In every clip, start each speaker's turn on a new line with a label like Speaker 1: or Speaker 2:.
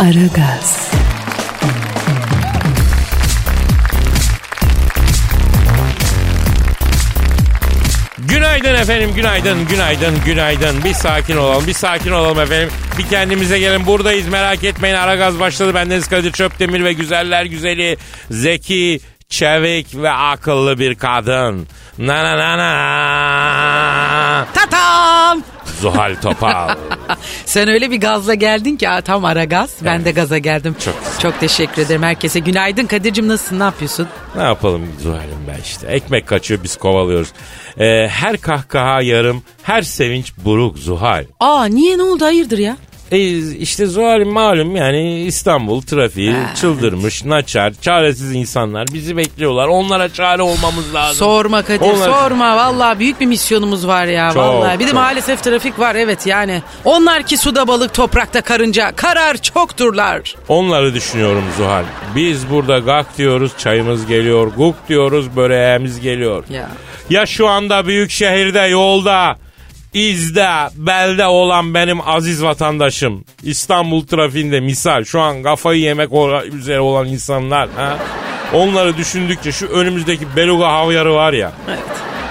Speaker 1: Aragaz,
Speaker 2: Günaydın efendim, günaydın, günaydın, günaydın. Bir sakin olalım, bir sakin olalım efendim. Bir kendimize gelin, buradayız merak etmeyin. Ara gaz başladı. Ben Deniz Kadir Çöptemir ve güzeller güzeli, zeki, çevik ve akıllı bir kadın. Na na na na.
Speaker 3: Tatam!
Speaker 2: Zuhal Topal.
Speaker 3: Sen öyle bir gazla geldin ki ha, tam ara gaz. Ben de gaza geldim.
Speaker 2: Çok güzel.
Speaker 3: Çok teşekkür ederim herkese. Günaydın Kadir'cim nasılsın ne yapıyorsun?
Speaker 2: ne yapalım Zuhal'im ben işte. Ekmek kaçıyor biz kovalıyoruz. Ee, her kahkaha yarım, her sevinç buruk Zuhal.
Speaker 3: Aa niye ne oldu hayırdır ya?
Speaker 2: E, işte Zuhal'in malum yani İstanbul trafiği çıldırmış, naçar, çaresiz insanlar bizi bekliyorlar. Onlara çare olmamız lazım.
Speaker 3: Sorma Kadir
Speaker 2: Onlar-
Speaker 3: sorma. Vallahi büyük bir misyonumuz var ya.
Speaker 2: Çok,
Speaker 3: vallahi. Bir de
Speaker 2: çok.
Speaker 3: maalesef trafik var evet yani. Onlar ki suda balık toprakta karınca karar çokturlar.
Speaker 2: Onları düşünüyorum Zuhal. Biz burada gak diyoruz, çayımız geliyor, guk diyoruz, böreğimiz geliyor.
Speaker 3: Ya.
Speaker 2: Ya şu anda büyük şehirde, yolda, izde, belde olan benim aziz vatandaşım. İstanbul trafiğinde misal şu an kafayı yemek ora- üzere olan insanlar. Ha? Onları düşündükçe şu önümüzdeki beluga havyarı var ya.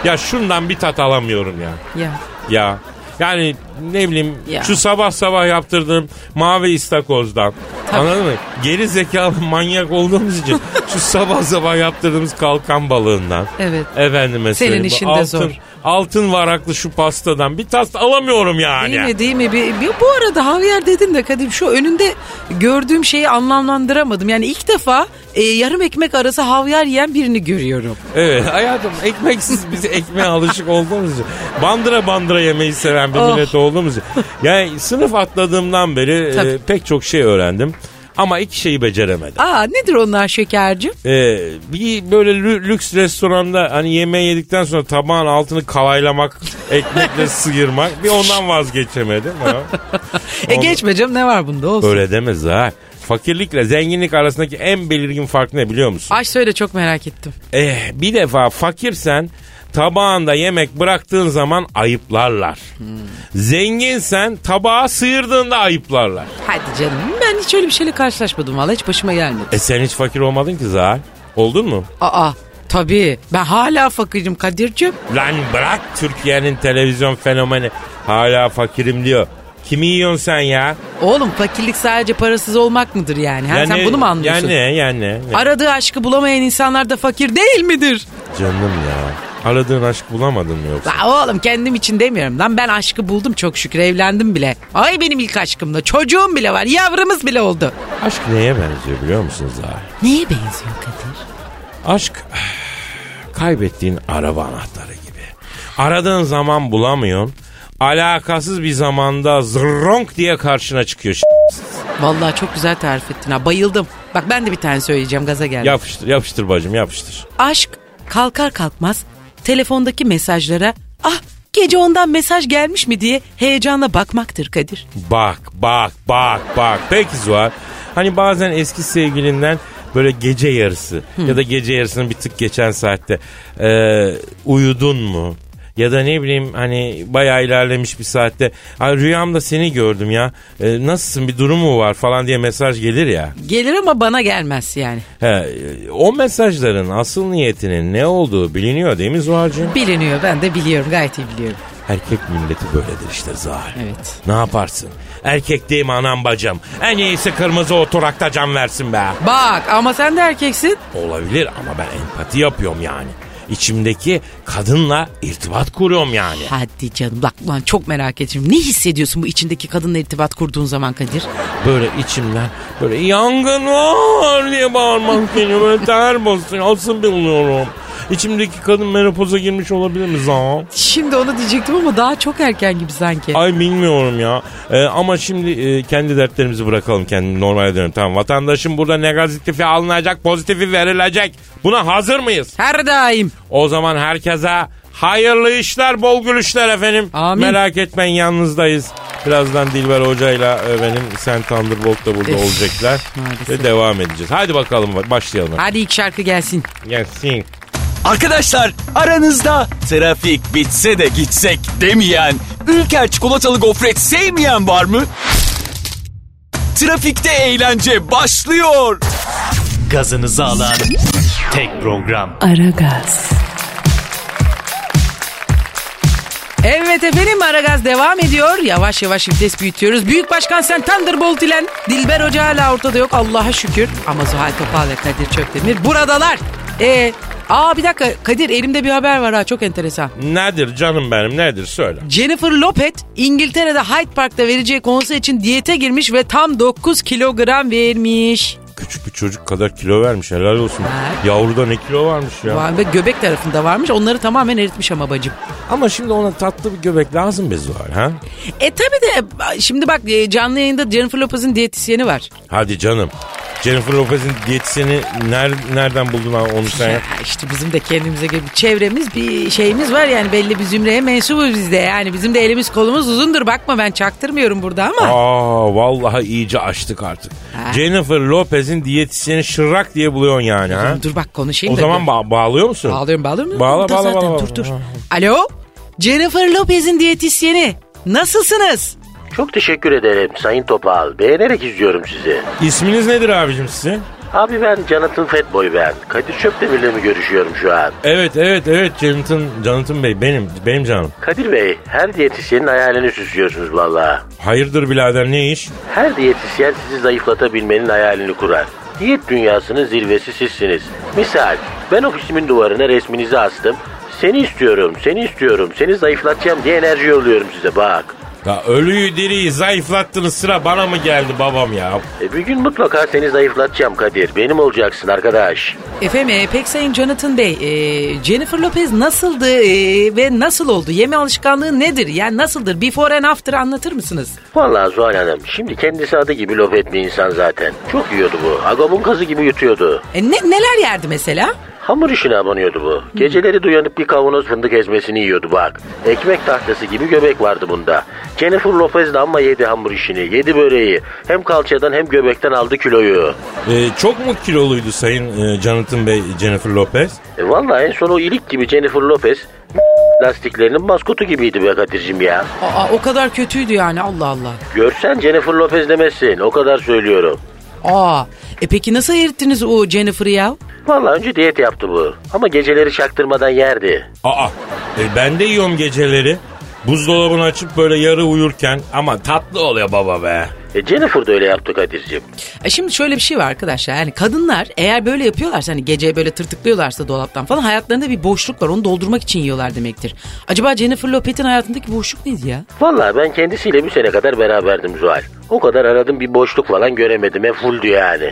Speaker 2: Ya şundan bir tat alamıyorum ya.
Speaker 3: Ya.
Speaker 2: Ya. Yani ne bileyim
Speaker 3: Ya.
Speaker 2: şu sabah sabah yaptırdığım mavi istakozdan. Anladın mı? Geri zekalı manyak olduğumuz için şu sabah sabah yaptırdığımız kalkan balığından.
Speaker 3: Evet.
Speaker 2: Efendime söyleyeyim. bu
Speaker 3: işin de
Speaker 2: altın,
Speaker 3: zor.
Speaker 2: Altın varaklı şu pastadan bir tat alamıyorum yani.
Speaker 3: Değil mi değil mi? Bir- bir- bu arada Havyer dedin de Kadir şu önünde gördüğüm şeyi anlamlandıramadım. Yani ilk defa e, yarım ekmek arası Havyer yiyen birini görüyorum.
Speaker 2: Evet hayatım ekmeksiz biz ekmeğe alışık olduğumuz için. Bandıra bandıra yemeyi seven bir
Speaker 3: Oh.
Speaker 2: millet olduğumuz için. Yani sınıf atladığımdan beri
Speaker 3: Tabii.
Speaker 2: e, pek çok şey öğrendim. Ama iki şeyi beceremedim.
Speaker 3: Aa nedir onlar şekercim? E,
Speaker 2: Ee, bir böyle lü- lüks restoranda hani yemeği yedikten sonra tabağın altını kalaylamak, ekmekle sıyırmak bir ondan vazgeçemedim. Ha.
Speaker 3: E
Speaker 2: Onu-
Speaker 3: geçme canım ne var bunda olsun.
Speaker 2: Öyle deme Zahar. Fakirlikle zenginlik arasındaki en belirgin fark ne biliyor musun?
Speaker 3: Ay söyle çok merak ettim.
Speaker 2: Eh, bir defa fakirsen tabağında yemek bıraktığın zaman ayıplarlar.
Speaker 3: Hmm.
Speaker 2: Zenginsen tabağa sıyırdığında ayıplarlar.
Speaker 3: Hadi canım ben hiç öyle bir şeyle karşılaşmadım valla hiç başıma gelmedi.
Speaker 2: E sen hiç fakir olmadın ki Zahar. Oldun mu?
Speaker 3: Aa tabii ben hala fakirim Kadir'cim.
Speaker 2: Lan bırak Türkiye'nin televizyon fenomeni. Hala fakirim diyor. Kimi yiyorsun sen ya?
Speaker 3: Oğlum fakirlik sadece parasız olmak mıdır yani? Ha, sen bunu mu anlıyorsun?
Speaker 2: Yani yani. yani.
Speaker 3: Aradığı aşkı bulamayan insanlar da fakir değil midir?
Speaker 2: Canım ya. Aradığın aşk bulamadın mı yoksa?
Speaker 3: La oğlum kendim için demiyorum. Lan ben aşkı buldum çok şükür evlendim bile. Ay benim ilk aşkımla çocuğum bile var yavrumuz bile oldu.
Speaker 2: Aşk neye benziyor biliyor musun Zahir?
Speaker 3: Neye benziyor Kadir?
Speaker 2: Aşk kaybettiğin araba anahtarı gibi. Aradığın zaman bulamıyorsun. Alakasız bir zamanda zırronk diye karşına çıkıyor. ş-
Speaker 3: Vallahi çok güzel tarif ettin ha bayıldım. Bak ben de bir tane söyleyeceğim gaza geldim.
Speaker 2: Yapıştır, yapıştır bacım yapıştır.
Speaker 3: Aşk kalkar kalkmaz telefondaki mesajlara ah gece ondan mesaj gelmiş mi diye heyecanla bakmaktır Kadir.
Speaker 2: Bak bak bak bak. Peki Zuhal. Hani bazen eski sevgilinden böyle gece yarısı ya da gece yarısının bir tık geçen saatte e, uyudun mu? Ya da ne bileyim hani bayağı ilerlemiş bir saatte "Ay, rüyamda seni gördüm ya E, nasılsın bir durum mu var falan diye mesaj gelir ya.
Speaker 3: Gelir ama bana gelmez yani.
Speaker 2: He, o mesajların asıl niyetinin ne olduğu biliniyor değil mi Zuhal'cığım?
Speaker 3: Biliniyor ben de biliyorum gayet iyi biliyorum.
Speaker 2: Erkek milleti böyledir işte Zuhal.
Speaker 3: Evet.
Speaker 2: Ne yaparsın? Erkek değil mi anam bacım? En iyisi kırmızı oturakta can versin be.
Speaker 3: Bak ama sen de erkeksin.
Speaker 2: Olabilir ama ben empati yapıyorum yani. İçimdeki kadınla irtibat kuruyorum yani.
Speaker 3: Hadi canım bak lan çok merak ediyorum. Ne hissediyorsun bu içindeki kadınla irtibat kurduğun zaman Kadir?
Speaker 2: Böyle içimden böyle yangın var diye bağırmak geliyor. Böyle ter basıyor. Asıl bilmiyorum. İçimdeki kadın menopoza girmiş olabilir mi zaman?
Speaker 3: Şimdi onu diyecektim ama daha çok erken gibi sanki.
Speaker 2: Ay bilmiyorum ya. Ee, ama şimdi e, kendi dertlerimizi bırakalım kendi normale dönelim. Tamam vatandaşın burada negatifi alınacak, pozitifi verilecek. Buna hazır mıyız?
Speaker 3: Her daim.
Speaker 2: O zaman herkese hayırlı işler, bol gülüşler efendim.
Speaker 3: Amin.
Speaker 2: Merak etmeyin yalnızdayız. Birazdan Dilber Hoca'yla e, benim Sen Thunderbolt da burada
Speaker 3: Üf,
Speaker 2: olacaklar.
Speaker 3: maalesef.
Speaker 2: Ve devam edeceğiz. Hadi bakalım başlayalım.
Speaker 3: Hadi ilk şarkı gelsin.
Speaker 2: Gelsin.
Speaker 4: Arkadaşlar aranızda trafik bitse de gitsek demeyen, ülker çikolatalı gofret sevmeyen var mı? Trafikte eğlence başlıyor. Gazınızı alan tek program.
Speaker 1: Aragaz,
Speaker 3: Evet efendim Aragaz devam ediyor. Yavaş yavaş vites büyütüyoruz. Büyük Başkan sen Thunderbolt ile Dilber Hoca hala ortada yok Allah'a şükür. Ama Zuhal Topal ve Kadir Çöpdemir buradalar. Ee, aa bir dakika Kadir elimde bir haber var ha çok enteresan.
Speaker 2: Nedir canım benim nedir söyle.
Speaker 3: Jennifer Lopez İngiltere'de Hyde Park'ta vereceği konser için diyete girmiş ve tam 9 kilogram vermiş.
Speaker 2: Küçük bir çocuk kadar kilo vermiş helal olsun.
Speaker 3: Ha.
Speaker 2: Yavruda ne kilo varmış ya.
Speaker 3: Vay Ve göbek tarafında varmış onları tamamen eritmiş ama bacım.
Speaker 2: Ama şimdi ona tatlı bir göbek lazım be Zuhal ha.
Speaker 3: E tabi de şimdi bak e, canlı yayında Jennifer Lopez'in diyetisyeni var.
Speaker 2: Hadi canım. Jennifer Lopez'in diyetisyeni ner- nereden buldun abi onu sen
Speaker 3: Ya
Speaker 2: yap?
Speaker 3: işte bizim de kendimize göre bir çevremiz bir şeyimiz var yani belli bir zümreye mensubuz biz de yani bizim de elimiz kolumuz uzundur bakma ben çaktırmıyorum burada ama.
Speaker 2: Aa vallahi iyice açtık artık. Jennifer Lopez'in diyetisyeni şırrak diye buluyorsun yani ha.
Speaker 3: Dur bak konuşayım
Speaker 2: O
Speaker 3: da
Speaker 2: zaman
Speaker 3: bir-
Speaker 2: ba- bağlıyor musun?
Speaker 3: Bağlıyorum bağlıyorum.
Speaker 2: Bağla,
Speaker 3: Burada
Speaker 2: bağla,
Speaker 3: zaten.
Speaker 2: bağla,
Speaker 3: Dur dur.
Speaker 2: bağla.
Speaker 3: Alo Jennifer Lopez'in diyetisyeni nasılsınız?
Speaker 5: Çok teşekkür ederim Sayın Topal. Beğenerek izliyorum sizi.
Speaker 2: İsminiz nedir abicim sizin?
Speaker 5: Abi ben Jonathan Fatboy ben. Kadir Çöpdemir'le mi görüşüyorum şu an?
Speaker 2: Evet evet evet Jonathan, Jonathan Bey benim benim canım.
Speaker 5: Kadir Bey, her diyetisyenin hayalini süslüyorsunuz valla.
Speaker 2: Hayırdır birader ne iş?
Speaker 5: Her diyetisyen sizi zayıflatabilmenin hayalini kurar. Diyet dünyasının zirvesi sizsiniz. Misal, ben ofisimin duvarına resminizi astım. Seni istiyorum, seni istiyorum, seni zayıflatacağım diye enerji yolluyorum size bak.
Speaker 2: Ya ölüyü diriyi zayıflattınız sıra bana mı geldi babam ya?
Speaker 5: E, bir gün mutlaka seni zayıflatacağım Kadir. Benim olacaksın arkadaş.
Speaker 3: Efendim e, pek sayın Jonathan Bey e, Jennifer Lopez nasıldı e, ve nasıl oldu? Yeme alışkanlığı nedir? Yani nasıldır? Before and after anlatır mısınız?
Speaker 5: Vallahi Zuhal Hanım, şimdi kendisi adı gibi laf bir insan zaten. Çok yiyordu bu. Agabun kazı gibi yutuyordu.
Speaker 3: E, ne, neler yerdi mesela?
Speaker 5: Hamur işine abanıyordu bu. Geceleri de uyanıp bir kavanoz fındık ezmesini yiyordu bak. Ekmek tahtası gibi göbek vardı bunda. Jennifer Lopez de amma yedi hamur işini, yedi böreği. Hem kalçadan hem göbekten aldı kiloyu.
Speaker 2: Ee, çok mu kiloluydu Sayın e, Jonathan Bey, Jennifer Lopez?
Speaker 5: E vallahi en son o ilik gibi Jennifer Lopez lastiklerinin maskotu gibiydi be Kadir'cim ya.
Speaker 3: Aa, o kadar kötüydü yani Allah Allah.
Speaker 5: Görsen Jennifer Lopez demezsin, o kadar söylüyorum.
Speaker 3: Aa, e peki nasıl erittiniz o Jennifer'ı ya?
Speaker 5: Vallahi önce diyet yaptı bu. Ama geceleri çaktırmadan yerdi.
Speaker 2: Aa, e, ben de yiyorum geceleri. Buzdolabını açıp böyle yarı uyurken ama tatlı oluyor baba be.
Speaker 5: E Jennifer da öyle yaptı Kadir'cim.
Speaker 3: E şimdi şöyle bir şey var arkadaşlar yani kadınlar eğer böyle yapıyorlarsa hani gece böyle tırtıklıyorlarsa dolaptan falan hayatlarında bir boşluk var onu doldurmak için yiyorlar demektir. Acaba Jennifer Lopez'in hayatındaki boşluk neydi ya?
Speaker 5: Vallahi ben kendisiyle bir sene kadar beraberdim Zuhal. O kadar aradım bir boşluk falan göremedim. E fulldü yani.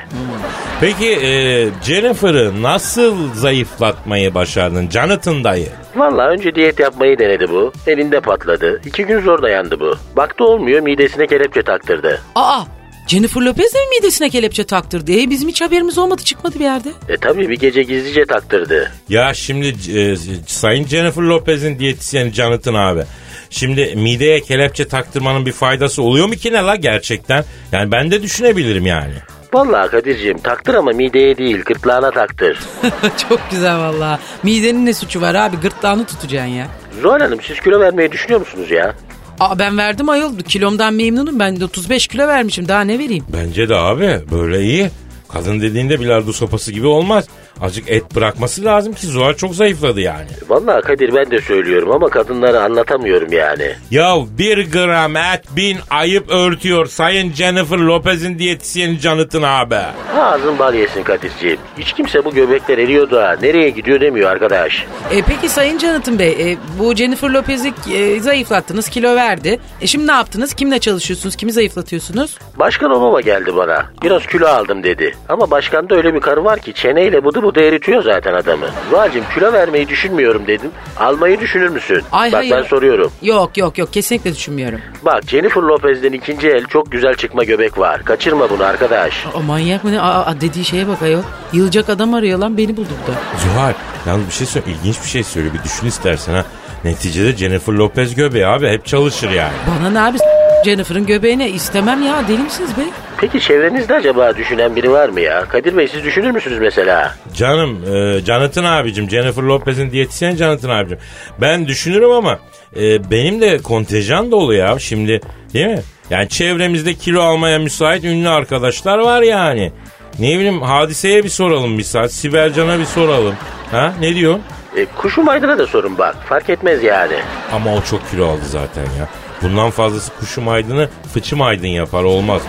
Speaker 2: Peki e, Jennifer'ı nasıl zayıflatmayı başardın Jonathan dayı?
Speaker 5: Vallahi önce diyet yapmayı denedi bu. Elinde patladı. İki gün zor dayandı bu. Baktı olmuyor midesine kelepçe taktırdı.
Speaker 3: Aa Jennifer Lopez de mi midesine kelepçe taktırdı? E bizim hiç haberimiz olmadı çıkmadı bir yerde.
Speaker 5: E tabii bir gece gizlice taktırdı.
Speaker 2: Ya şimdi e, Sayın Jennifer Lopez'in diyetisyeni Jonathan abi. Şimdi mideye kelepçe taktırmanın bir faydası oluyor mu ki ne la gerçekten? Yani ben de düşünebilirim yani.
Speaker 5: Vallahi Kadir'cim taktır ama mideye değil gırtlağına taktır.
Speaker 3: Çok güzel valla. Midenin ne suçu var abi gırtlağını tutacaksın ya.
Speaker 5: Zuhal Hanım siz kilo vermeyi düşünüyor musunuz ya?
Speaker 3: Aa ben verdim ayol kilomdan memnunum ben de 35 kilo vermişim daha ne vereyim?
Speaker 2: Bence de abi böyle iyi. Kadın dediğinde bilardo sopası gibi olmaz. Azıcık et bırakması lazım ki Zuhal çok zayıfladı yani.
Speaker 5: Vallahi Kadir ben de söylüyorum ama kadınlara anlatamıyorum yani.
Speaker 2: Ya bir gram et bin ayıp örtüyor Sayın Jennifer Lopez'in diyetisyeni Jonathan abi.
Speaker 5: Ha ağzın bal yesin Kadir'ciğim. Hiç kimse bu göbekler eriyor da nereye gidiyor demiyor arkadaş.
Speaker 3: E, peki Sayın Jonathan Bey, e, bu Jennifer Lopez'i e, zayıflattınız, kilo verdi. E, şimdi ne yaptınız? Kimle çalışıyorsunuz? Kimi zayıflatıyorsunuz?
Speaker 5: Başkan Obama geldi bana. Biraz kilo aldım dedi. Ama başkanda öyle bir karı var ki çeneyle bıdı bu da eritiyor zaten adamı. Zuhal'cim kilo vermeyi düşünmüyorum dedim. Almayı düşünür müsün?
Speaker 3: Ay
Speaker 5: Bak
Speaker 3: hayır.
Speaker 5: ben soruyorum.
Speaker 3: Yok yok yok kesinlikle düşünmüyorum.
Speaker 5: Bak Jennifer Lopez'den ikinci el çok güzel çıkma göbek var. Kaçırma bunu arkadaş.
Speaker 3: O manyak mı ne? Aa, dediği şeye bak ayol. Yılacak adam arıyor lan beni buldu burada.
Speaker 2: Zuhal yalnız bir şey söyle ilginç bir şey söyle bir düşün istersen ha. Neticede Jennifer Lopez göbeği abi hep çalışır yani.
Speaker 3: Bana ne abi Jennifer'ın göbeğine istemem ya deli misiniz be?
Speaker 5: Peki çevrenizde acaba düşünen biri var mı ya? Kadir Bey siz düşünür müsünüz mesela?
Speaker 2: Canım e, Jonathan abicim Jennifer Lopez'in diyetisyen Jonathan abicim. Ben düşünürüm ama e, benim de kontenjan dolu ya şimdi değil mi? Yani çevremizde kilo almaya müsait ünlü arkadaşlar var yani. Ne bileyim hadiseye bir soralım bir saat. Sibel Can'a bir soralım. Ha ne diyor?
Speaker 5: E, kuşum aydına da sorun bak. Fark etmez yani.
Speaker 2: Ama o çok kilo aldı zaten ya. Bundan fazlası kuşum aydını fıçım aydın yapar olmaz.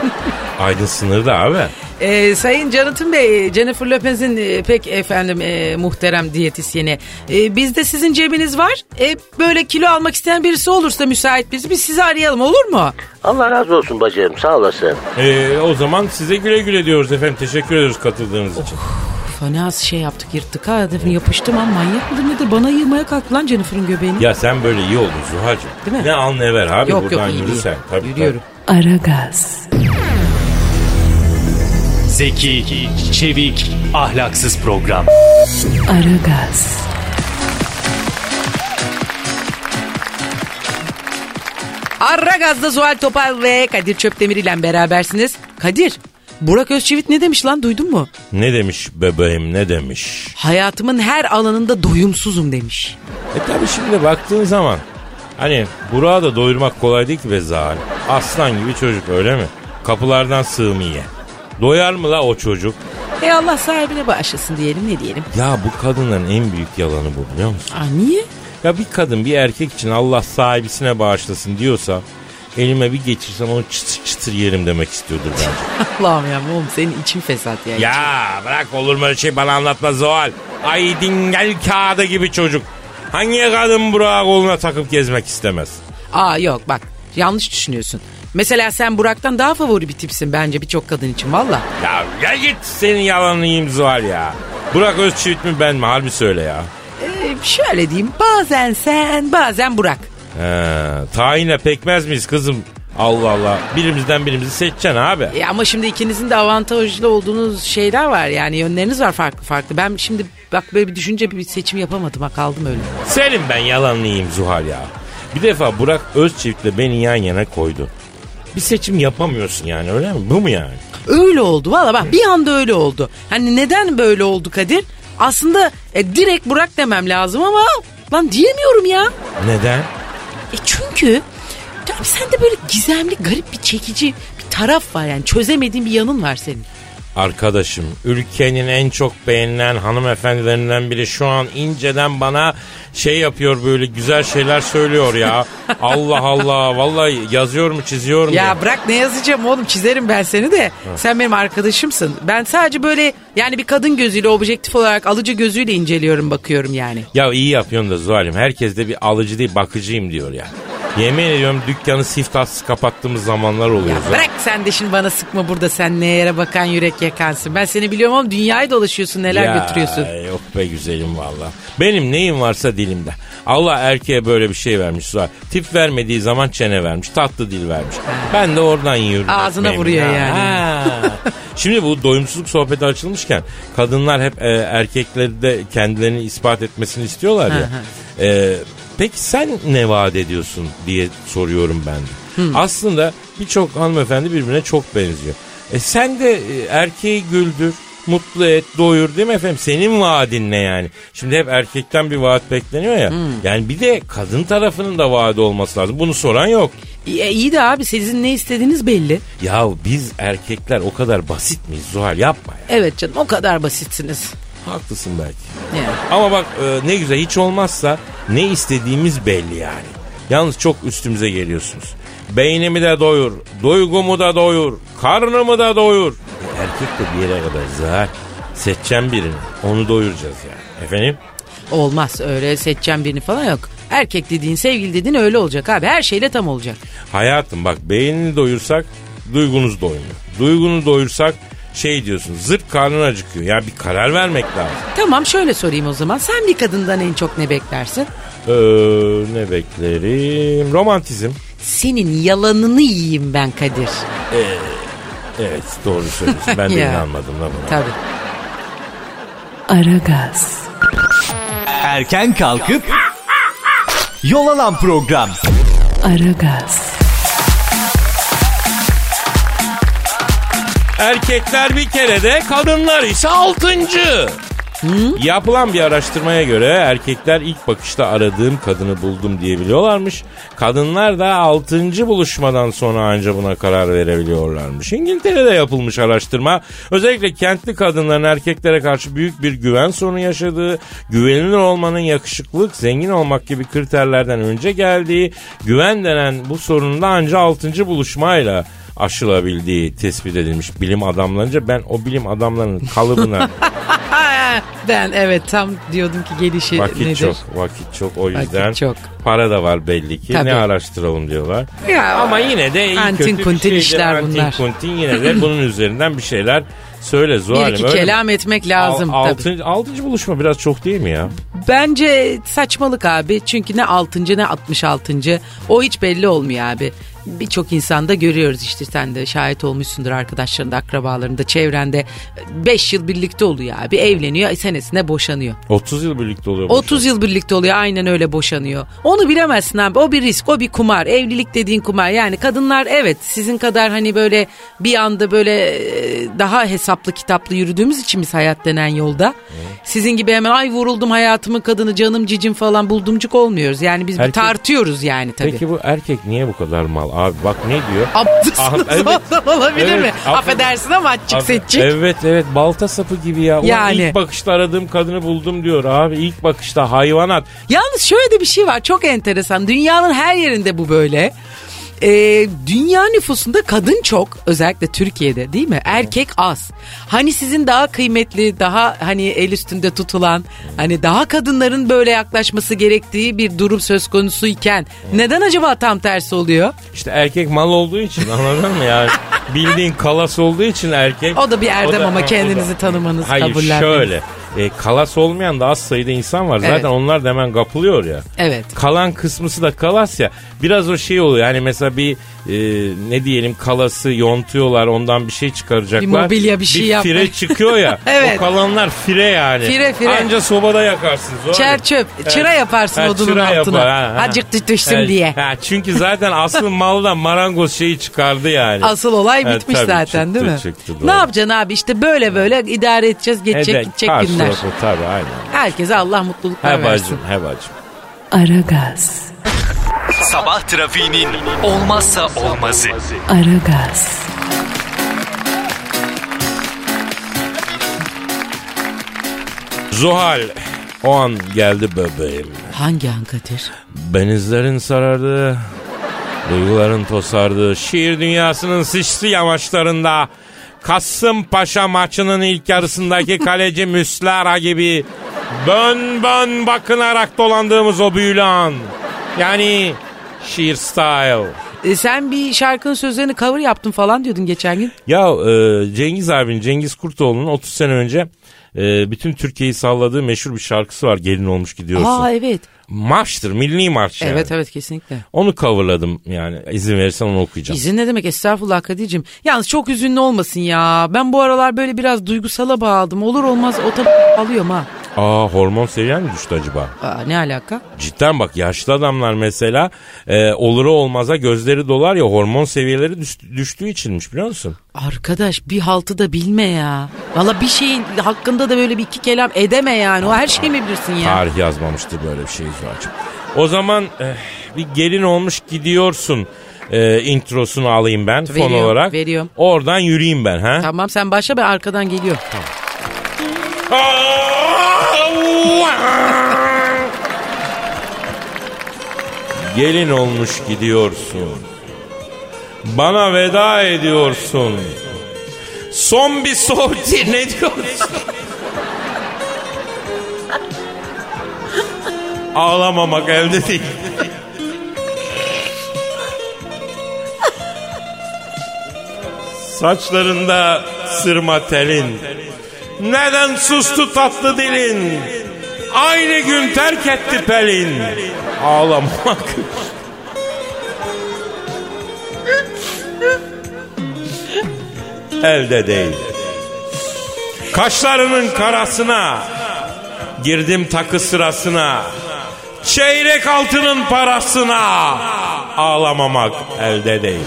Speaker 2: aydın sınırda abi.
Speaker 3: Ee, Sayın Canıtın Bey, Jennifer Lopez'in e, pek efendim e, muhterem diyetisyeni. E, bizde sizin cebiniz var. E, böyle kilo almak isteyen birisi olursa müsait biz, biz sizi arayalım olur mu?
Speaker 5: Allah razı olsun bacım sağ olasın.
Speaker 2: E, o zaman size güle güle diyoruz efendim. Teşekkür ediyoruz katıldığınız için.
Speaker 3: Oh. Fena az şey yaptık yırttık ha. Dedim, Yapıştım ama manyak mıdır nedir? Bana yığmaya kalktı lan Jennifer'ın göbeğini.
Speaker 2: Ya sen böyle iyi oldun Zuhal'cığım.
Speaker 3: Değil mi?
Speaker 2: Ne al ne ver abi
Speaker 3: yok yok
Speaker 2: buradan
Speaker 3: iyi
Speaker 2: yürü
Speaker 3: değil.
Speaker 2: sen. Tabii,
Speaker 3: Yürüyorum.
Speaker 1: Aragaz,
Speaker 4: Zeki, çevik, ahlaksız program.
Speaker 1: Aragaz,
Speaker 3: Arra gazda Zuhal Topal ve Kadir Çöptemir ile berabersiniz. Kadir, Burak Özçivit ne demiş lan duydun mu?
Speaker 2: tabii. Ne demiş bebeğim ne demiş?
Speaker 3: Hayatımın her alanında doyumsuzum demiş.
Speaker 2: E tabii şimdi baktığın zaman hani Burak'ı da doyurmak kolay değil ki be Zuhal. Aslan gibi çocuk öyle mi? Kapılardan sığmıyor. Doyar mı la o çocuk?
Speaker 3: E Allah sahibine bağışlasın diyelim ne diyelim.
Speaker 2: Ya bu kadının en büyük yalanı bu biliyor musun?
Speaker 3: Aa, niye?
Speaker 2: Ya bir kadın bir erkek için Allah sahibisine bağışlasın diyorsa elime bir geçirsem onu çıtır çıtır yerim demek istiyordur bence.
Speaker 3: Allah'ım ya oğlum senin için fesat yani.
Speaker 2: ya bırak olur mu öyle şey bana anlatma Zoal. Ay dingel kağıdı gibi çocuk. Hangi kadın Burak'ı koluna takıp gezmek istemez?
Speaker 3: Aa yok bak yanlış düşünüyorsun. Mesela sen Burak'tan daha favori bir tipsin bence birçok kadın için valla.
Speaker 2: Ya, ya git senin yalanını yiyeyim Zoal ya. Burak Özçivit mi ben mi harbi söyle ya.
Speaker 3: Ee, şöyle diyeyim bazen sen bazen Burak.
Speaker 2: He, tayinle pekmez miyiz kızım? Allah Allah. Birimizden birimizi seçeceksin abi.
Speaker 3: E, ama şimdi ikinizin de avantajlı olduğunuz şeyler var yani yönleriniz var farklı farklı. Ben şimdi bak böyle bir düşünce bir seçim yapamadım ha kaldım öyle.
Speaker 2: Senin ben yalanlıyım Zuhal ya. Bir defa Burak Özçivit'le beni yan yana koydu. Bir seçim yapamıyorsun yani öyle mi? Bu mu yani?
Speaker 3: Öyle oldu valla bak bir anda öyle oldu. Hani neden böyle oldu Kadir? Aslında e, direkt Burak demem lazım ama lan diyemiyorum ya.
Speaker 2: Neden?
Speaker 3: E çünkü tabii sende böyle gizemli garip bir çekici bir taraf var yani çözemediğin bir yanın var senin.
Speaker 2: Arkadaşım ülkenin en çok beğenilen hanımefendilerinden biri şu an inceden bana şey yapıyor böyle güzel şeyler söylüyor ya. Allah Allah vallahi yazıyor mu çiziyor mu?
Speaker 3: Ya bırak ne yazacağım oğlum çizerim ben seni de. Sen benim arkadaşımsın. Ben sadece böyle yani bir kadın gözüyle objektif olarak alıcı gözüyle inceliyorum bakıyorum yani.
Speaker 2: Ya iyi yapıyorsun da Zuhal'im. Herkes de bir alıcı değil bakıcıyım diyor ya. Yemin ediyorum dükkanı siftahsız kapattığımız zamanlar oluyor.
Speaker 3: Ya
Speaker 2: Zuhal.
Speaker 3: bırak sen de şimdi bana sıkma burada sen neye yere bakan yürek yakansın. Ben seni biliyorum oğlum dünyayı dolaşıyorsun neler
Speaker 2: Ya,
Speaker 3: götürüyorsun.
Speaker 2: Yok be güzelim valla. Benim neyim varsa dilimde. Allah erkeğe böyle bir şey vermiş Zuhal. Tip vermediği zaman çene vermiş. Tatlı dil vermiş. Ben de oradan yiyorum.
Speaker 3: Ağzına
Speaker 2: ekmeğimi.
Speaker 3: vuruyor
Speaker 2: Ha,
Speaker 3: yani.
Speaker 2: ha. Şimdi bu doyumsuzluk sohbeti açılmışken kadınlar hep e, erkekleri de kendilerini ispat etmesini istiyorlar ya. E, peki sen ne vaat ediyorsun diye soruyorum ben de. Aslında birçok hanımefendi birbirine çok benziyor. E sen de e, erkeği güldür, mutlu et, doyur değil mi efendim? Senin vaadin ne yani? Şimdi hep erkekten bir vaat bekleniyor ya. Yani bir de kadın tarafının da vaadi olması lazım. Bunu soran yok.
Speaker 3: e, iyi de abi sizin ne istediğiniz belli.
Speaker 2: Ya biz erkekler o kadar basit miyiz Zuhal yapma ya.
Speaker 3: Evet canım o kadar basitsiniz.
Speaker 2: Haklısın belki.
Speaker 3: Yani.
Speaker 2: Ama bak e, ne güzel hiç olmazsa ne istediğimiz belli yani. Yalnız çok üstümüze geliyorsunuz. Beynimi de doyur, duygumu da doyur, karnımı da doyur. E, Erkek de bir yere kadar Zuhal. Seçeceğim birini. Onu doyuracağız yani. Efendim?
Speaker 3: Olmaz öyle seçeceğim birini falan yok. Erkek dediğin sevgili dediğin öyle olacak abi her şeyle tam olacak.
Speaker 2: Hayatım bak beynini doyursak duygunuz doymuyor. Duygunu doyursak şey diyorsun zırt karnın acıkıyor. Ya bir karar vermek lazım.
Speaker 3: Tamam şöyle sorayım o zaman. Sen bir kadından en çok ne beklersin?
Speaker 2: Ee, ne beklerim? Romantizm.
Speaker 3: Senin yalanını yiyeyim ben Kadir.
Speaker 2: Evet doğru söylüyorsun. Ben de
Speaker 3: Ya.
Speaker 2: inanmadım la buna.
Speaker 3: Tabii.
Speaker 1: Aragaz,
Speaker 4: Erken kalkıp yol alan program.
Speaker 1: Aragaz,
Speaker 2: Erkekler bir kere de kadınlar ise altıncı. Yapılan bir araştırmaya göre erkekler ilk bakışta aradığım kadını buldum diyebiliyorlarmış. Kadınlar da 6. buluşmadan sonra anca buna karar verebiliyorlarmış. İngiltere'de yapılmış araştırma özellikle kentli kadınların erkeklere karşı büyük bir güven sorunu yaşadığı, güvenilir olmanın yakışıklılık, zengin olmak gibi kriterlerden önce geldiği, güven denen bu sorunun da anca 6. buluşmayla aşılabildiği tespit edilmiş bilim adamlarınca ben o bilim adamlarının kalıbına
Speaker 3: Ha, ben evet tam diyordum ki gelişi
Speaker 2: Vakit
Speaker 3: nedir?
Speaker 2: çok, vakit çok. O yüzden
Speaker 3: çok.
Speaker 2: para da var belli ki.
Speaker 3: Tabii.
Speaker 2: Ne araştıralım diyorlar.
Speaker 3: Ya,
Speaker 2: Ama yine de iyi
Speaker 3: Antin
Speaker 2: kötü bir
Speaker 3: kuntin
Speaker 2: şeydir.
Speaker 3: işler
Speaker 2: Antin
Speaker 3: bunlar.
Speaker 2: kuntin yine de bunun üzerinden bir şeyler söyle
Speaker 3: bir
Speaker 2: Zuhal'im.
Speaker 3: iki
Speaker 2: öyle mi?
Speaker 3: kelam etmek
Speaker 2: Al-
Speaker 3: lazım tabii.
Speaker 2: altıncı, altıncı buluşma biraz çok değil mi ya?
Speaker 3: Bence saçmalık abi. Çünkü ne 6. ne 66. O hiç belli olmuyor abi. Birçok insanda görüyoruz işte sen de şahit olmuşsundur arkadaşlarında, akrabalarında, çevrende. 5 yıl birlikte oluyor abi. Evleniyor, senesinde boşanıyor.
Speaker 2: 30 yıl birlikte oluyor. bu şey.
Speaker 3: 30 yıl birlikte oluyor aynen öyle boşanıyor. Onu bilemezsin abi o bir risk o bir kumar evlilik dediğin kumar yani kadınlar evet sizin kadar hani böyle bir anda böyle e, daha hesaplı kitaplı yürüdüğümüz için biz hayat denen yolda. Sizin gibi hemen ay vuruldum hayatımın kadını canım cicim falan buldumcuk olmuyoruz yani biz bir
Speaker 2: Erkek-
Speaker 3: tartıyoruz yani tabii.
Speaker 2: Peki bu erkek niye bu kadar mal abi? Bak ne diyor?
Speaker 3: Aptalsınız
Speaker 2: Ah, evet.
Speaker 3: ondan olabilir
Speaker 2: Evet,
Speaker 3: mi?
Speaker 2: aferin.
Speaker 3: Affedersin ama açık
Speaker 2: Abi,
Speaker 3: seçik.
Speaker 2: Evet evet balta sapı gibi ya. Yani.
Speaker 3: Yani.
Speaker 2: ilk bakışta aradığım kadını buldum diyor abi. İlk bakışta hayvanat.
Speaker 3: Yalnız şöyle de bir şey var çok enteresan. Dünyanın her yerinde bu böyle. Ee, dünya nüfusunda kadın çok özellikle Türkiye'de değil mi? Erkek az. Hani sizin daha kıymetli, daha hani el üstünde tutulan, hani daha kadınların böyle yaklaşması gerektiği bir durum söz konusu iken neden acaba tam tersi oluyor?
Speaker 2: İşte erkek mal olduğu için anladın mı yani? Bildiğin kalas olduğu için erkek.
Speaker 3: O da bir erdem
Speaker 2: da-
Speaker 3: ama
Speaker 2: ha, o
Speaker 3: kendinizi
Speaker 2: da-
Speaker 3: tanımanız,
Speaker 2: Hayır
Speaker 3: kabullenmeniz.
Speaker 2: şöyle. E, kalas olmayan da az sayıda insan var. Zaten
Speaker 3: Evet.
Speaker 2: onlar da hemen kapılıyor ya.
Speaker 3: Evet.
Speaker 2: Kalan kısmısı da kalas ya. Biraz o şey oluyor. Yani mesela bir e, ne diyelim kalası yontuyorlar. Ondan bir şey çıkaracaklar.
Speaker 3: Bir mobilya, bir şey
Speaker 2: Bir
Speaker 3: yapma.
Speaker 2: fire çıkıyor ya.
Speaker 3: Evet.
Speaker 2: O kalanlar fire yani.
Speaker 3: Fire, fire.
Speaker 2: Anca sobada yakarsınız. o
Speaker 3: Çer
Speaker 2: arada.
Speaker 3: çöp, çıra yaparsın
Speaker 2: Ha,
Speaker 3: odunun
Speaker 2: çıra
Speaker 3: altına.
Speaker 2: yapar, ha, ha.
Speaker 3: Acık düşsün
Speaker 2: Ha,
Speaker 3: diye.
Speaker 2: Ha, çünkü zaten asıl maldan marangoz şeyi çıkardı yani.
Speaker 3: Asıl olay
Speaker 2: Evet,
Speaker 3: bitmiş
Speaker 2: E, tabii,
Speaker 3: zaten
Speaker 2: çıktı,
Speaker 3: değil mi?
Speaker 2: çıktı, doğru.
Speaker 3: ne yapacaksın abi işte böyle böyle idare edeceğiz geçecek gidecek
Speaker 2: karşı
Speaker 3: günler.
Speaker 2: tarafı Tabii aynen.
Speaker 3: Herkese Allah mutluluklar
Speaker 2: He
Speaker 3: versin.
Speaker 2: bacım, he bacım.
Speaker 1: Aragaz,
Speaker 4: Sabah trafiğinin olmazsa olmazı.
Speaker 1: Aragaz,
Speaker 2: Zuhal o an geldi bebeğim.
Speaker 3: Hangi an Kadir?
Speaker 2: Benizlerin sarardı. Duyguların tosardı. Şiir dünyasının sıçtı yamaçlarında. Kasımpaşa maçının ilk yarısındaki kaleci Müslara gibi bön bön bakınarak dolandığımız o büyülü an. Yani şiir style.
Speaker 3: E, sen bir şarkının sözlerini cover yaptın falan diyordun geçen gün.
Speaker 2: Ya e, Cengiz abinin Cengiz Kurtoğlu'nun 30 sene önce e, bütün Türkiye'yi salladığı meşhur bir şarkısı var gelin olmuş gidiyorsun.
Speaker 3: Aa evet.
Speaker 2: Marştır milli marş Şey, yani.
Speaker 3: Evet evet kesinlikle.
Speaker 2: Onu coverladım yani izin verirsen onu okuyacağım.
Speaker 3: İzin ne demek estağfurullah Kadir'cim. Yalnız çok üzünlü olmasın ya. Ben bu aralar böyle biraz duygusala bağladım. Olur olmaz o tabi alıyorum ha.
Speaker 2: Aa hormon seviyen mi düştü acaba?
Speaker 3: Aa, ne alaka?
Speaker 2: Cidden bak yaşlı adamlar mesela e, olura olmaza gözleri dolar ya hormon seviyeleri düş- düştüğü içinmiş biliyor musun?
Speaker 3: Arkadaş bir haltı da bilme ya. Valla bir şeyin hakkında da böyle bir iki kelam edeme yani. O her şeyi mi bilirsin ya?
Speaker 2: Tarih yazmamıştı böyle bir şey Zuhal'cığım. O zaman eh, bir gelin olmuş gidiyorsun eh, introsunu alayım ben
Speaker 3: Veriyorum,
Speaker 2: fon olarak.
Speaker 3: veriyorum.
Speaker 2: Oradan yürüyeyim ben ha.
Speaker 3: Tamam sen başla ben arkadan geliyorum.
Speaker 2: Gelin olmuş gidiyorsun. Bana veda ediyorsun. Son bir sohbeti ne diyorsun? Ağlamamak elde değil. Saçlarında sırma telin. Neden sustu tatlı dilin? Aynı gün terk etti pelin. Ağlamak. Elde değil. Kaşlarının karasına girdim takı sırasına. Çeyrek altının parasına ağlamamak elde değil.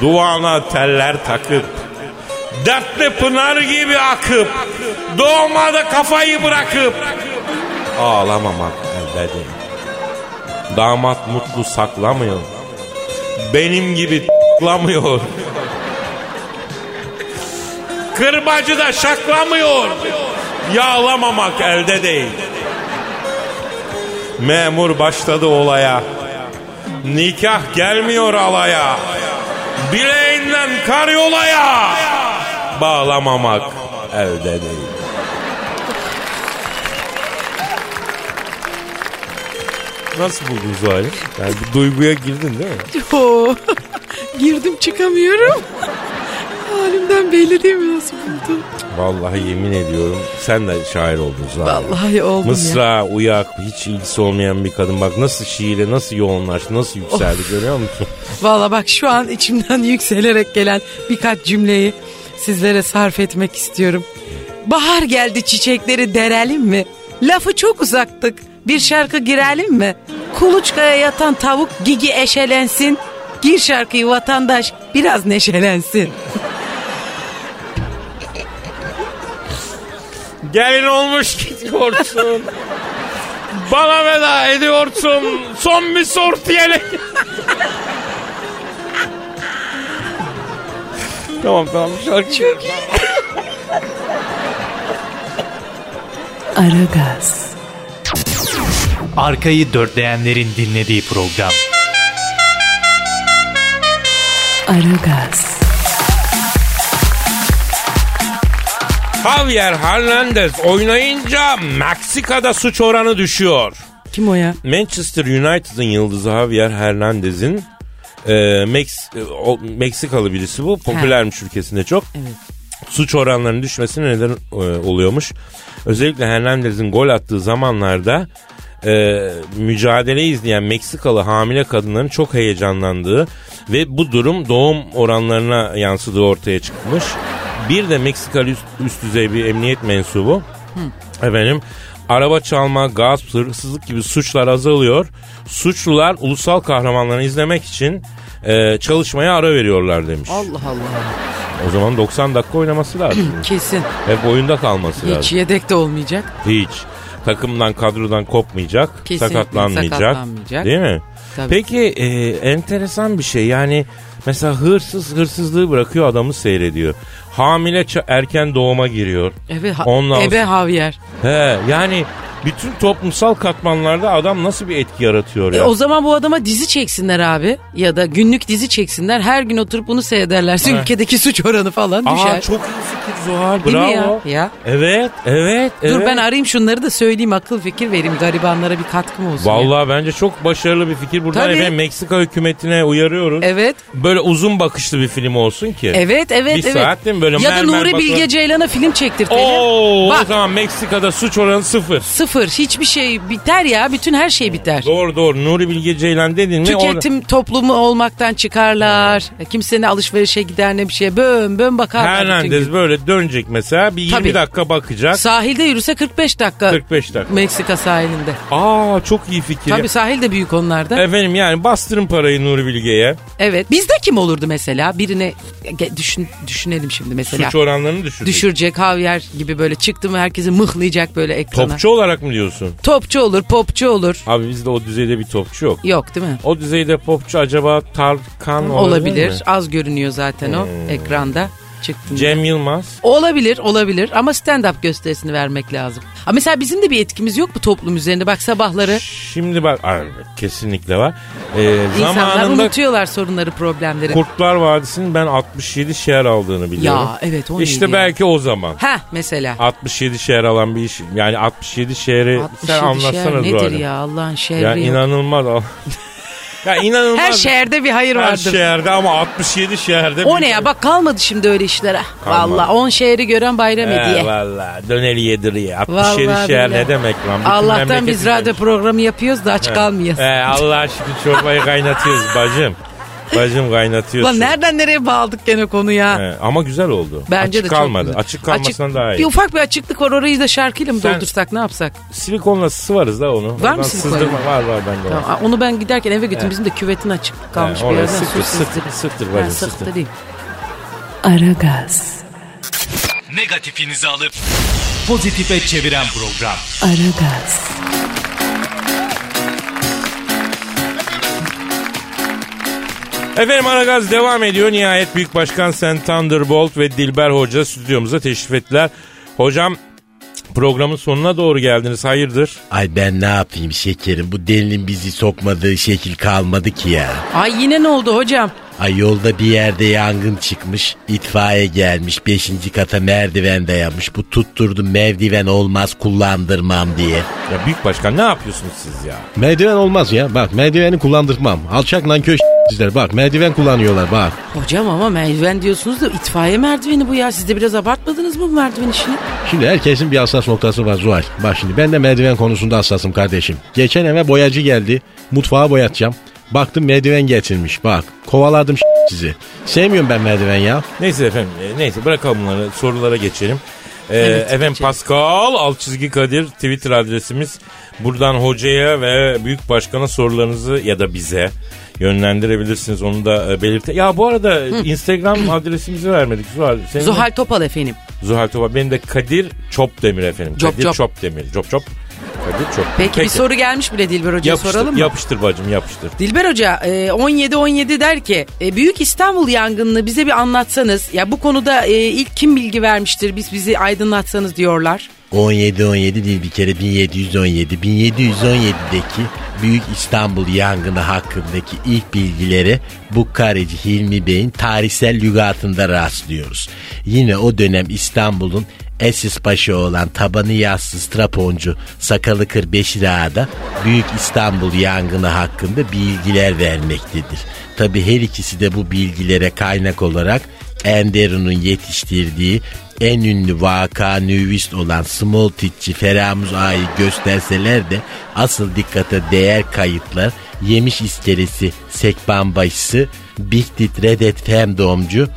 Speaker 2: Duvana teller takıp dertli pınar gibi akıp doğmada kafayı bırakıp ağlamamak elde değil. Damat mutlu saklamıyor. Benim gibi tıklamıyor. Kırbacı da şaklamıyor. Yağlamamak elde değil. Memur başladı olaya. Nikah gelmiyor alaya. Bileğinden kar yolaya. Bağlamamak elde değil. Nasıl buldun Zuhal'i? Yani bu duyguya girdin değil mi?
Speaker 3: Oo, girdim çıkamıyorum. Halimden belli değil mi nasıl buldum?
Speaker 2: Vallahi yemin ediyorum sen de şair oldun Zuhal.
Speaker 3: Vallahi oldum ya.
Speaker 2: Mısra, uyak, hiç ilgisi olmayan bir kadın. Bak nasıl şiire nasıl yoğunlaştı, nasıl yükseldi görüyor musun?
Speaker 3: Valla bak şu an içimden yükselerek gelen birkaç cümleyi sizlere sarf etmek istiyorum. Bahar geldi çiçekleri derelim mi? Lafı çok uzaktık. Bir şarkı girelim mi? Kuluçkaya yatan tavuk gigi eşelensin. Gir şarkıyı vatandaş biraz neşelensin.
Speaker 2: Gelin olmuş gidiyorsun. Bana veda ediyorsun. Son bir sortiyeli. tamam tamam şarkı.
Speaker 1: Aragaz,
Speaker 6: Arkayı dörtleyenlerin dinlediği program.
Speaker 1: Aragaz,
Speaker 2: Javier Hernandez oynayınca Meksika'da suç oranı düşüyor.
Speaker 3: Kim o ya?
Speaker 2: Manchester United'ın yıldızı Javier Hernandez'in e, Mex- e, o- Meksikalı birisi bu. Popülermiş ülkesinde çok. Suç oranlarının düşmesine neden e, oluyormuş. Özellikle Hernandez'in gol attığı zamanlarda e, mücadele izleyen Meksikalı hamile kadınların çok heyecanlandığı ve bu durum doğum oranlarına yansıdığı ortaya çıkmış. Bir de Meksikalı üst, üst düzey bir emniyet mensubu Efendim araba çalma, gasp, hırsızlık gibi suçlar azalıyor. Suçlular ulusal kahramanlarını izlemek için e, çalışmaya ara veriyorlar demiş.
Speaker 3: Allah Allah.
Speaker 2: O zaman 90 dakika oynaması lazım.
Speaker 3: Kesin.
Speaker 2: Hep oyunda kalması
Speaker 3: Hiç
Speaker 2: lazım.
Speaker 3: yedek de olmayacak.
Speaker 2: Hiç. Takımdan kadrodan kopmayacak,
Speaker 3: Kesinlikle
Speaker 2: sakatlanmayacak,
Speaker 3: sakatlanmayacak.
Speaker 2: Değil mi?
Speaker 3: Tabii.
Speaker 2: Peki e, enteresan bir şey yani mesela hırsız hırsızlığı bırakıyor adamı seyrediyor. Hamile ça- erken doğuma giriyor.
Speaker 3: Ebe, ha-
Speaker 2: Ondan
Speaker 3: ebe Javier.
Speaker 2: He yani bütün toplumsal katmanlarda adam nasıl bir etki yaratıyor ya?
Speaker 3: E, o zaman bu adama dizi çeksinler abi. Ya da günlük dizi çeksinler. Her gün oturup bunu seyrederlerse ülkedeki suç oranı falan düşer.
Speaker 2: Aa çok iyi fikir Zuhal
Speaker 3: Değil mi
Speaker 2: bravo.
Speaker 3: ya? Ya.
Speaker 2: Evet evet
Speaker 3: Dur
Speaker 2: evet.
Speaker 3: ben arayayım şunları da söyleyeyim akıl fikir vereyim garibanlara bir katkım olsun. ya.
Speaker 2: Vallahi bence çok başarılı bir fikir. Buradan
Speaker 3: Tabii.
Speaker 2: efendim Meksika hükümetine uyarıyoruz.
Speaker 3: Evet,
Speaker 2: Böyle uzun bakışlı bir film olsun ki.
Speaker 3: evet, evet.
Speaker 2: Bir
Speaker 3: evet.
Speaker 2: saat değil mi? Böyle
Speaker 3: ya da
Speaker 2: mermer
Speaker 3: Nuri
Speaker 2: bakılan-
Speaker 3: Bilge Ceylan'a film çektirtelim.
Speaker 2: Oo, o
Speaker 3: Bak
Speaker 2: zaman Meksika'da suç oranı sıfır.
Speaker 3: sıfır hiçbir şey biter ya bütün her şey biter.
Speaker 2: Doğru doğru. Nuri Bilge Ceylan dedin mi? orada-
Speaker 3: Tüketim toplumu olmaktan çıkarlar. E, Kimsenin alışverişe gider ne bir şeye böm böm bakar.
Speaker 2: Hernandez böyle dönecek mesela. Bir 20
Speaker 3: Tabii.
Speaker 2: dakika bakacak.
Speaker 3: Sahilde yürüse 45 dakika.
Speaker 2: 45 dakika.
Speaker 3: Meksika sahilinde.
Speaker 2: Aa çok iyi fikir.
Speaker 3: Tabii sahil de büyük onlarda. Evet.
Speaker 2: Efendim yani bastırın parayı Nuri Bilge'ye.
Speaker 3: Bizde kim olurdu mesela? Birine ge- düşün, düşünelim şimdi mesela.
Speaker 2: Suç oranlarını düşürecek.
Speaker 3: Düşürecek Havyer gibi böyle çıktı mı herkesi mıhlayacak böyle ekrana.
Speaker 2: Topçu olarak mı diyorsun?
Speaker 3: Topçu olur, popçu olur.
Speaker 2: Abi bizde o düzeyde bir topçu yok.
Speaker 3: Yok değil mi?
Speaker 2: O düzeyde popçu acaba Tarkan olabilir,
Speaker 3: Olabilir.
Speaker 2: mi? Hmm.
Speaker 3: Az görünüyor zaten o ekranda. Çıktı.
Speaker 2: Cem Yılmaz.
Speaker 3: Olabilir, olabilir ama stand-up gösterisini vermek lazım. Ha mesela bizim de bir etkimiz yok mu toplum üzerinde? Bak sabahları
Speaker 2: Şimdi bak Ay, kesinlikle var. Ee,
Speaker 3: insanlar
Speaker 2: zamanında
Speaker 3: unutuyorlar sorunları, problemleri.
Speaker 2: Kurtlar Vadisi'nin ben 67 şehir aldığını biliyorum.
Speaker 3: Ya, evet, o
Speaker 2: İşte
Speaker 3: neydi ya?
Speaker 2: belki o zaman.
Speaker 3: ha mesela.
Speaker 2: 67 şehir alan bir iş. Yani 67 şehri
Speaker 3: 67
Speaker 2: sen
Speaker 3: şehir
Speaker 2: anlatsana
Speaker 3: nedir
Speaker 2: Zuhal'im.
Speaker 3: ya Allah'ın şehri
Speaker 2: Ya
Speaker 3: yok.
Speaker 2: inanılmaz. Ya inanılmaz.
Speaker 3: Her şehirde bir hayır
Speaker 2: Her
Speaker 3: vardır.
Speaker 2: şehirde ama 67 şehirde.
Speaker 3: O ne ya bak kalmadı şimdi öyle işlere. Valla 10 şehri gören bayram
Speaker 2: He
Speaker 3: hediye.
Speaker 2: valla döneri yediriye. 67
Speaker 3: Vallahi
Speaker 2: şehir
Speaker 3: billahi.
Speaker 2: ne demek lan? Bütün
Speaker 3: Allah'tan
Speaker 2: memleket
Speaker 3: biz radyo
Speaker 2: izlemiş.
Speaker 3: programı yapıyoruz da aç kalmayız.
Speaker 2: He Allah şükür çorbayı kaynatıyoruz bacım. Bacım kaynatıyorsun.
Speaker 3: Lan nereden nereye bağladık gene konu ya.
Speaker 2: He, ama güzel oldu.
Speaker 3: Bence
Speaker 2: açık
Speaker 3: de çok
Speaker 2: kalmadı.
Speaker 3: güzel.
Speaker 2: Açık kalmasından
Speaker 3: Açık-
Speaker 2: daha iyi.
Speaker 3: Bir ufak bir açıklık var orayı da şarkıyla mı
Speaker 2: Sen-
Speaker 3: doldursak ne yapsak?
Speaker 2: Silikonla sıvarız da onu.
Speaker 3: Var mı
Speaker 2: Oradan
Speaker 3: silikon?
Speaker 2: sızdırma- Var var bende var.
Speaker 3: Tamam, a- onu ben giderken eve götürüm. Bizim de küvetin açık kalmış
Speaker 2: He,
Speaker 3: bir
Speaker 2: oraya
Speaker 3: yerden.
Speaker 2: sıktır,
Speaker 3: su sızdırayım.
Speaker 2: sıktır, sıktır
Speaker 3: Ha,
Speaker 2: bacım, sıktır.
Speaker 3: sıktırayım.
Speaker 1: Aragaz,
Speaker 6: Negatifinizi alıp pozitife çeviren program.
Speaker 1: Aragaz,
Speaker 2: Efendim Aragaz devam ediyor. Nihayet Büyük Başkan Sen Thunderbolt ve Dilber Hoca stüdyomuza teşrif ettiler. Hocam programın sonuna doğru geldiniz. Hayırdır?
Speaker 5: Ay ben ne yapayım şekerim bu delinin bizi sokmadığı şekil kalmadı ki ya.
Speaker 3: Ay yine ne oldu hocam?
Speaker 5: Ay yolda bir yerde yangın çıkmış. itfaiye gelmiş. Beşinci kata merdiven dayanmış. Bu tutturdu merdiven olmaz kullandırmam diye.
Speaker 2: Ya Büyük Başkan ne yapıyorsunuz siz ya?
Speaker 7: Merdiven olmaz ya. Bak merdiveni kullandırmam. Alçak lan köş sizler. Bak merdiven kullanıyorlar bak.
Speaker 3: Hocam ama merdiven diyorsunuz da itfaiye merdiveni bu ya. Siz de biraz abartmadınız mı bu merdiven işini?
Speaker 7: Şimdi herkesin bir hassas noktası var Zuhal. Bak şimdi ben de merdiven konusunda hassasım kardeşim. Geçen eve boyacı geldi. Mutfağa boyatacağım. Baktım merdiven getirmiş bak. Kovaladım sizi. Sevmiyorum ben merdiven ya.
Speaker 2: Neyse efendim e, neyse bırakalım bunları sorulara geçelim. Ee, efendim Pascal alt çizgi Kadir Twitter adresimiz. Buradan hocaya ve büyük başkana sorularınızı ya da bize yönlendirebilirsiniz. Onu da e, belirte. Ya bu arada Instagram adresimizi vermedik Zuhal. Senin
Speaker 3: Zuhal Topal efendim.
Speaker 2: Zuhal Topal. Benim de Kadir Çopdemir efendim.
Speaker 3: Çop,
Speaker 2: Kadir
Speaker 3: Çop.
Speaker 2: Çopdemir. Çop Çop. Kadir Çop.
Speaker 3: Peki, bir soru gelmiş bile Dilber Hoca'ya
Speaker 2: yapıştır,
Speaker 3: soralım mı?
Speaker 2: Yapıştır bacım yapıştır.
Speaker 3: Dilber Hoca e, 17-17 der ki e, Büyük İstanbul yangınını bize bir anlatsanız. Ya bu konuda e, ilk kim bilgi vermiştir biz bizi aydınlatsanız diyorlar.
Speaker 5: 17-17 değil bir kere 1717. 1717'deki Büyük İstanbul yangını hakkındaki ilk bilgilere bu kareci Hilmi Bey'in tarihsel lügatında rastlıyoruz. Yine o dönem İstanbul'un Esis Paşa olan tabanı yağsız traponcu sakalı kır Beşir Ağa da Büyük İstanbul yangını hakkında bilgiler vermektedir. Tabi her ikisi de bu bilgilere kaynak olarak Enderun'un yetiştirdiği en ünlü vaka nüvist olan Smoltitçi Feramuz Ağa'yı gösterseler de asıl dikkate değer kayıtlar Yemiş iskelesi Sekban Başısı, Big Dit Redet Femdomcu,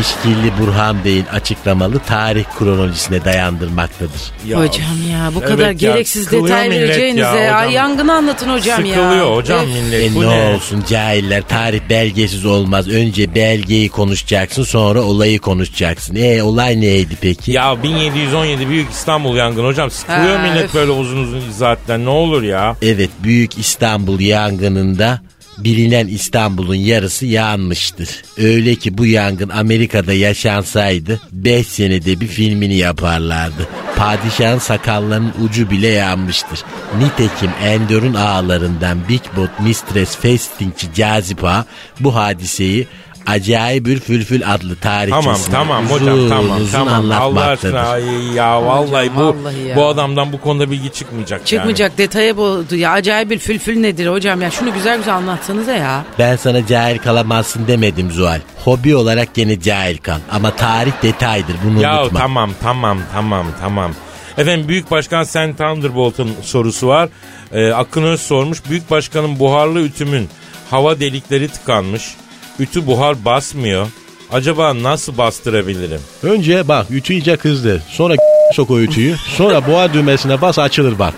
Speaker 5: İşkilli Burhan Bey'in açıklamalı tarih kronolojisine dayandırmaktadır.
Speaker 3: hocam ya bu
Speaker 2: evet
Speaker 3: kadar
Speaker 2: ya,
Speaker 3: gereksiz
Speaker 2: sıkılıyor
Speaker 3: detay
Speaker 2: millet ya
Speaker 3: vereceğinize ya,
Speaker 2: hocam.
Speaker 3: yangını anlatın hocam ya.
Speaker 2: Sıkılıyor hocam
Speaker 3: Öf.
Speaker 2: millet.
Speaker 5: E
Speaker 2: bu
Speaker 5: ne olsun cahiller tarih belgesiz olmaz. Önce belgeyi konuşacaksın sonra olayı konuşacaksın. E olay neydi peki?
Speaker 2: Ya 1717 Büyük İstanbul yangını hocam sıkılıyor
Speaker 3: Ha,
Speaker 2: millet
Speaker 3: öf.
Speaker 2: böyle uzun uzun izahatler ne olur ya.
Speaker 5: Evet Büyük İstanbul yangınında bilinen İstanbul'un yarısı yanmıştır. Öyle ki bu yangın Amerika'da yaşansaydı 5 senede bir filmini yaparlardı. Padişahın sakallarının ucu bile yanmıştır. Nitekim Endor'un ağalarından Big Bot Mistress Festingçi Cazip Ağa bu hadiseyi Acayip bir Fülfül adlı
Speaker 2: Tamam
Speaker 5: tarihçesine
Speaker 2: tamam
Speaker 5: uzun
Speaker 2: hocam tamam
Speaker 5: uzun
Speaker 2: tamam Allah
Speaker 5: anlatmaktadır.
Speaker 2: aşkına ay ya vallahi bu
Speaker 3: vallahi ya.
Speaker 2: bu adamdan bu konuda bilgi çıkmayacak
Speaker 3: Çıkmayacak detaya boğdu ya. Acayip bir fülfül nedir hocam ya? Şunu güzel güzel anlatsanıza ya.
Speaker 5: Ben sana cahil kalamazsın demedim Zuhal. Hobi olarak gene cahil kal. Ama tarih detaydır bunu
Speaker 2: yani. Ya
Speaker 5: unutma.
Speaker 2: tamam tamam tamam tamam. Efendim Büyük Başkan Sen Thunderbolt'un sorusu var. Ee, Akın Öz sormuş. Büyük Başkan'ın buharlı ütümün hava delikleri tıkanmış. Ütü buhar basmıyor. Acaba nasıl bastırabilirim?
Speaker 7: Önce bak ütü iyice kızdı. Sonra sok o ütüyü. Sonra boğa düğmesine bas açılır bak.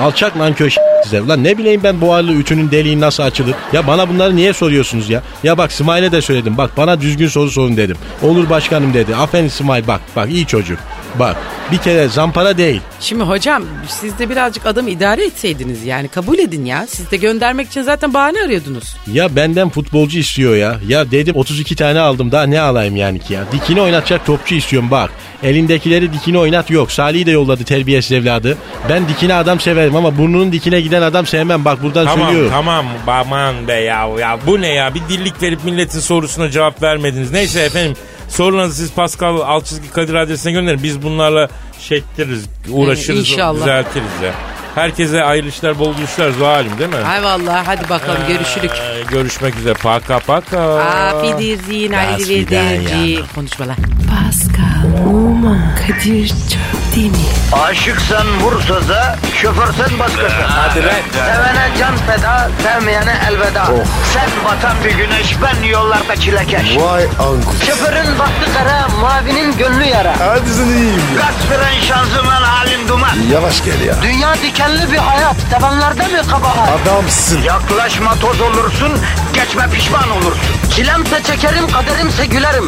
Speaker 7: Alçak lan köş size. Lan ne bileyim ben buharlı ütünün deliği nasıl açılır? Ya bana bunları niye soruyorsunuz ya? Ya bak Smil'e de söyledim. Bak bana düzgün soru sorun dedim. Olur başkanım dedi. Aferin Smile bak. Bak iyi çocuk. Bak bir kere zampara değil.
Speaker 3: Şimdi hocam siz de birazcık adamı idare etseydiniz yani kabul edin ya. Siz de göndermek için zaten bahane arıyordunuz.
Speaker 7: Ya benden futbolcu istiyor ya. Ya dedim 32 tane aldım daha ne alayım yani ki ya. Dikini oynatacak topçu istiyorum bak. Elindekileri dikini oynat yok. Salih'i de yolladı terbiyesiz evladı. Ben dikine adam severim ama burnunun dikine giden adam sevmem. Bak buradan
Speaker 2: Tamam
Speaker 7: söylüyorum.
Speaker 2: tamam aman be ya ya bu ne ya bir dillik verip milletin sorusuna cevap vermediniz. Neyse efendim sorularınızı siz Pascal alt çizgi Kadir adresine gönderin. Biz bunlarla şey ettiririz, uğraşırız,
Speaker 3: inşallah.
Speaker 2: düzeltiriz ya. Herkese hayırlı işler, bol gülüşler Zuhal'im değil mi?
Speaker 3: Hay vallahi hadi bakalım görüşürük.
Speaker 2: Ee, görüşmek üzere. Paka paka.
Speaker 3: Afidir zin, aldivirdir. Konuşmalar.
Speaker 1: Pascal, Oman, Kadir çok değil mi?
Speaker 8: Aşıksan vursa da şoförsen başkasın. Hadi
Speaker 2: lan.
Speaker 8: Sevene can feda, sevmeyene elveda. Sen batan bir güneş, ben yollarda çilekeş.
Speaker 9: Vay anku.
Speaker 8: Şoförün baktı kara, mavinin gönlü yara.
Speaker 9: Hadi sen iyiyim ya.
Speaker 8: Kasperen şanzıman halin duman.
Speaker 9: Yavaş gel ya.
Speaker 8: Dünya dikenli bir hayat, sevenlerde mi kabahar?
Speaker 9: Adamsın.
Speaker 8: Yaklaşma toz olursun, geçme pişman olursun. Çilemse çekerim, kaderimse gülerim.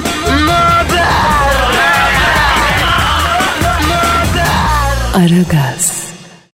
Speaker 8: Möber!
Speaker 1: Aragaz.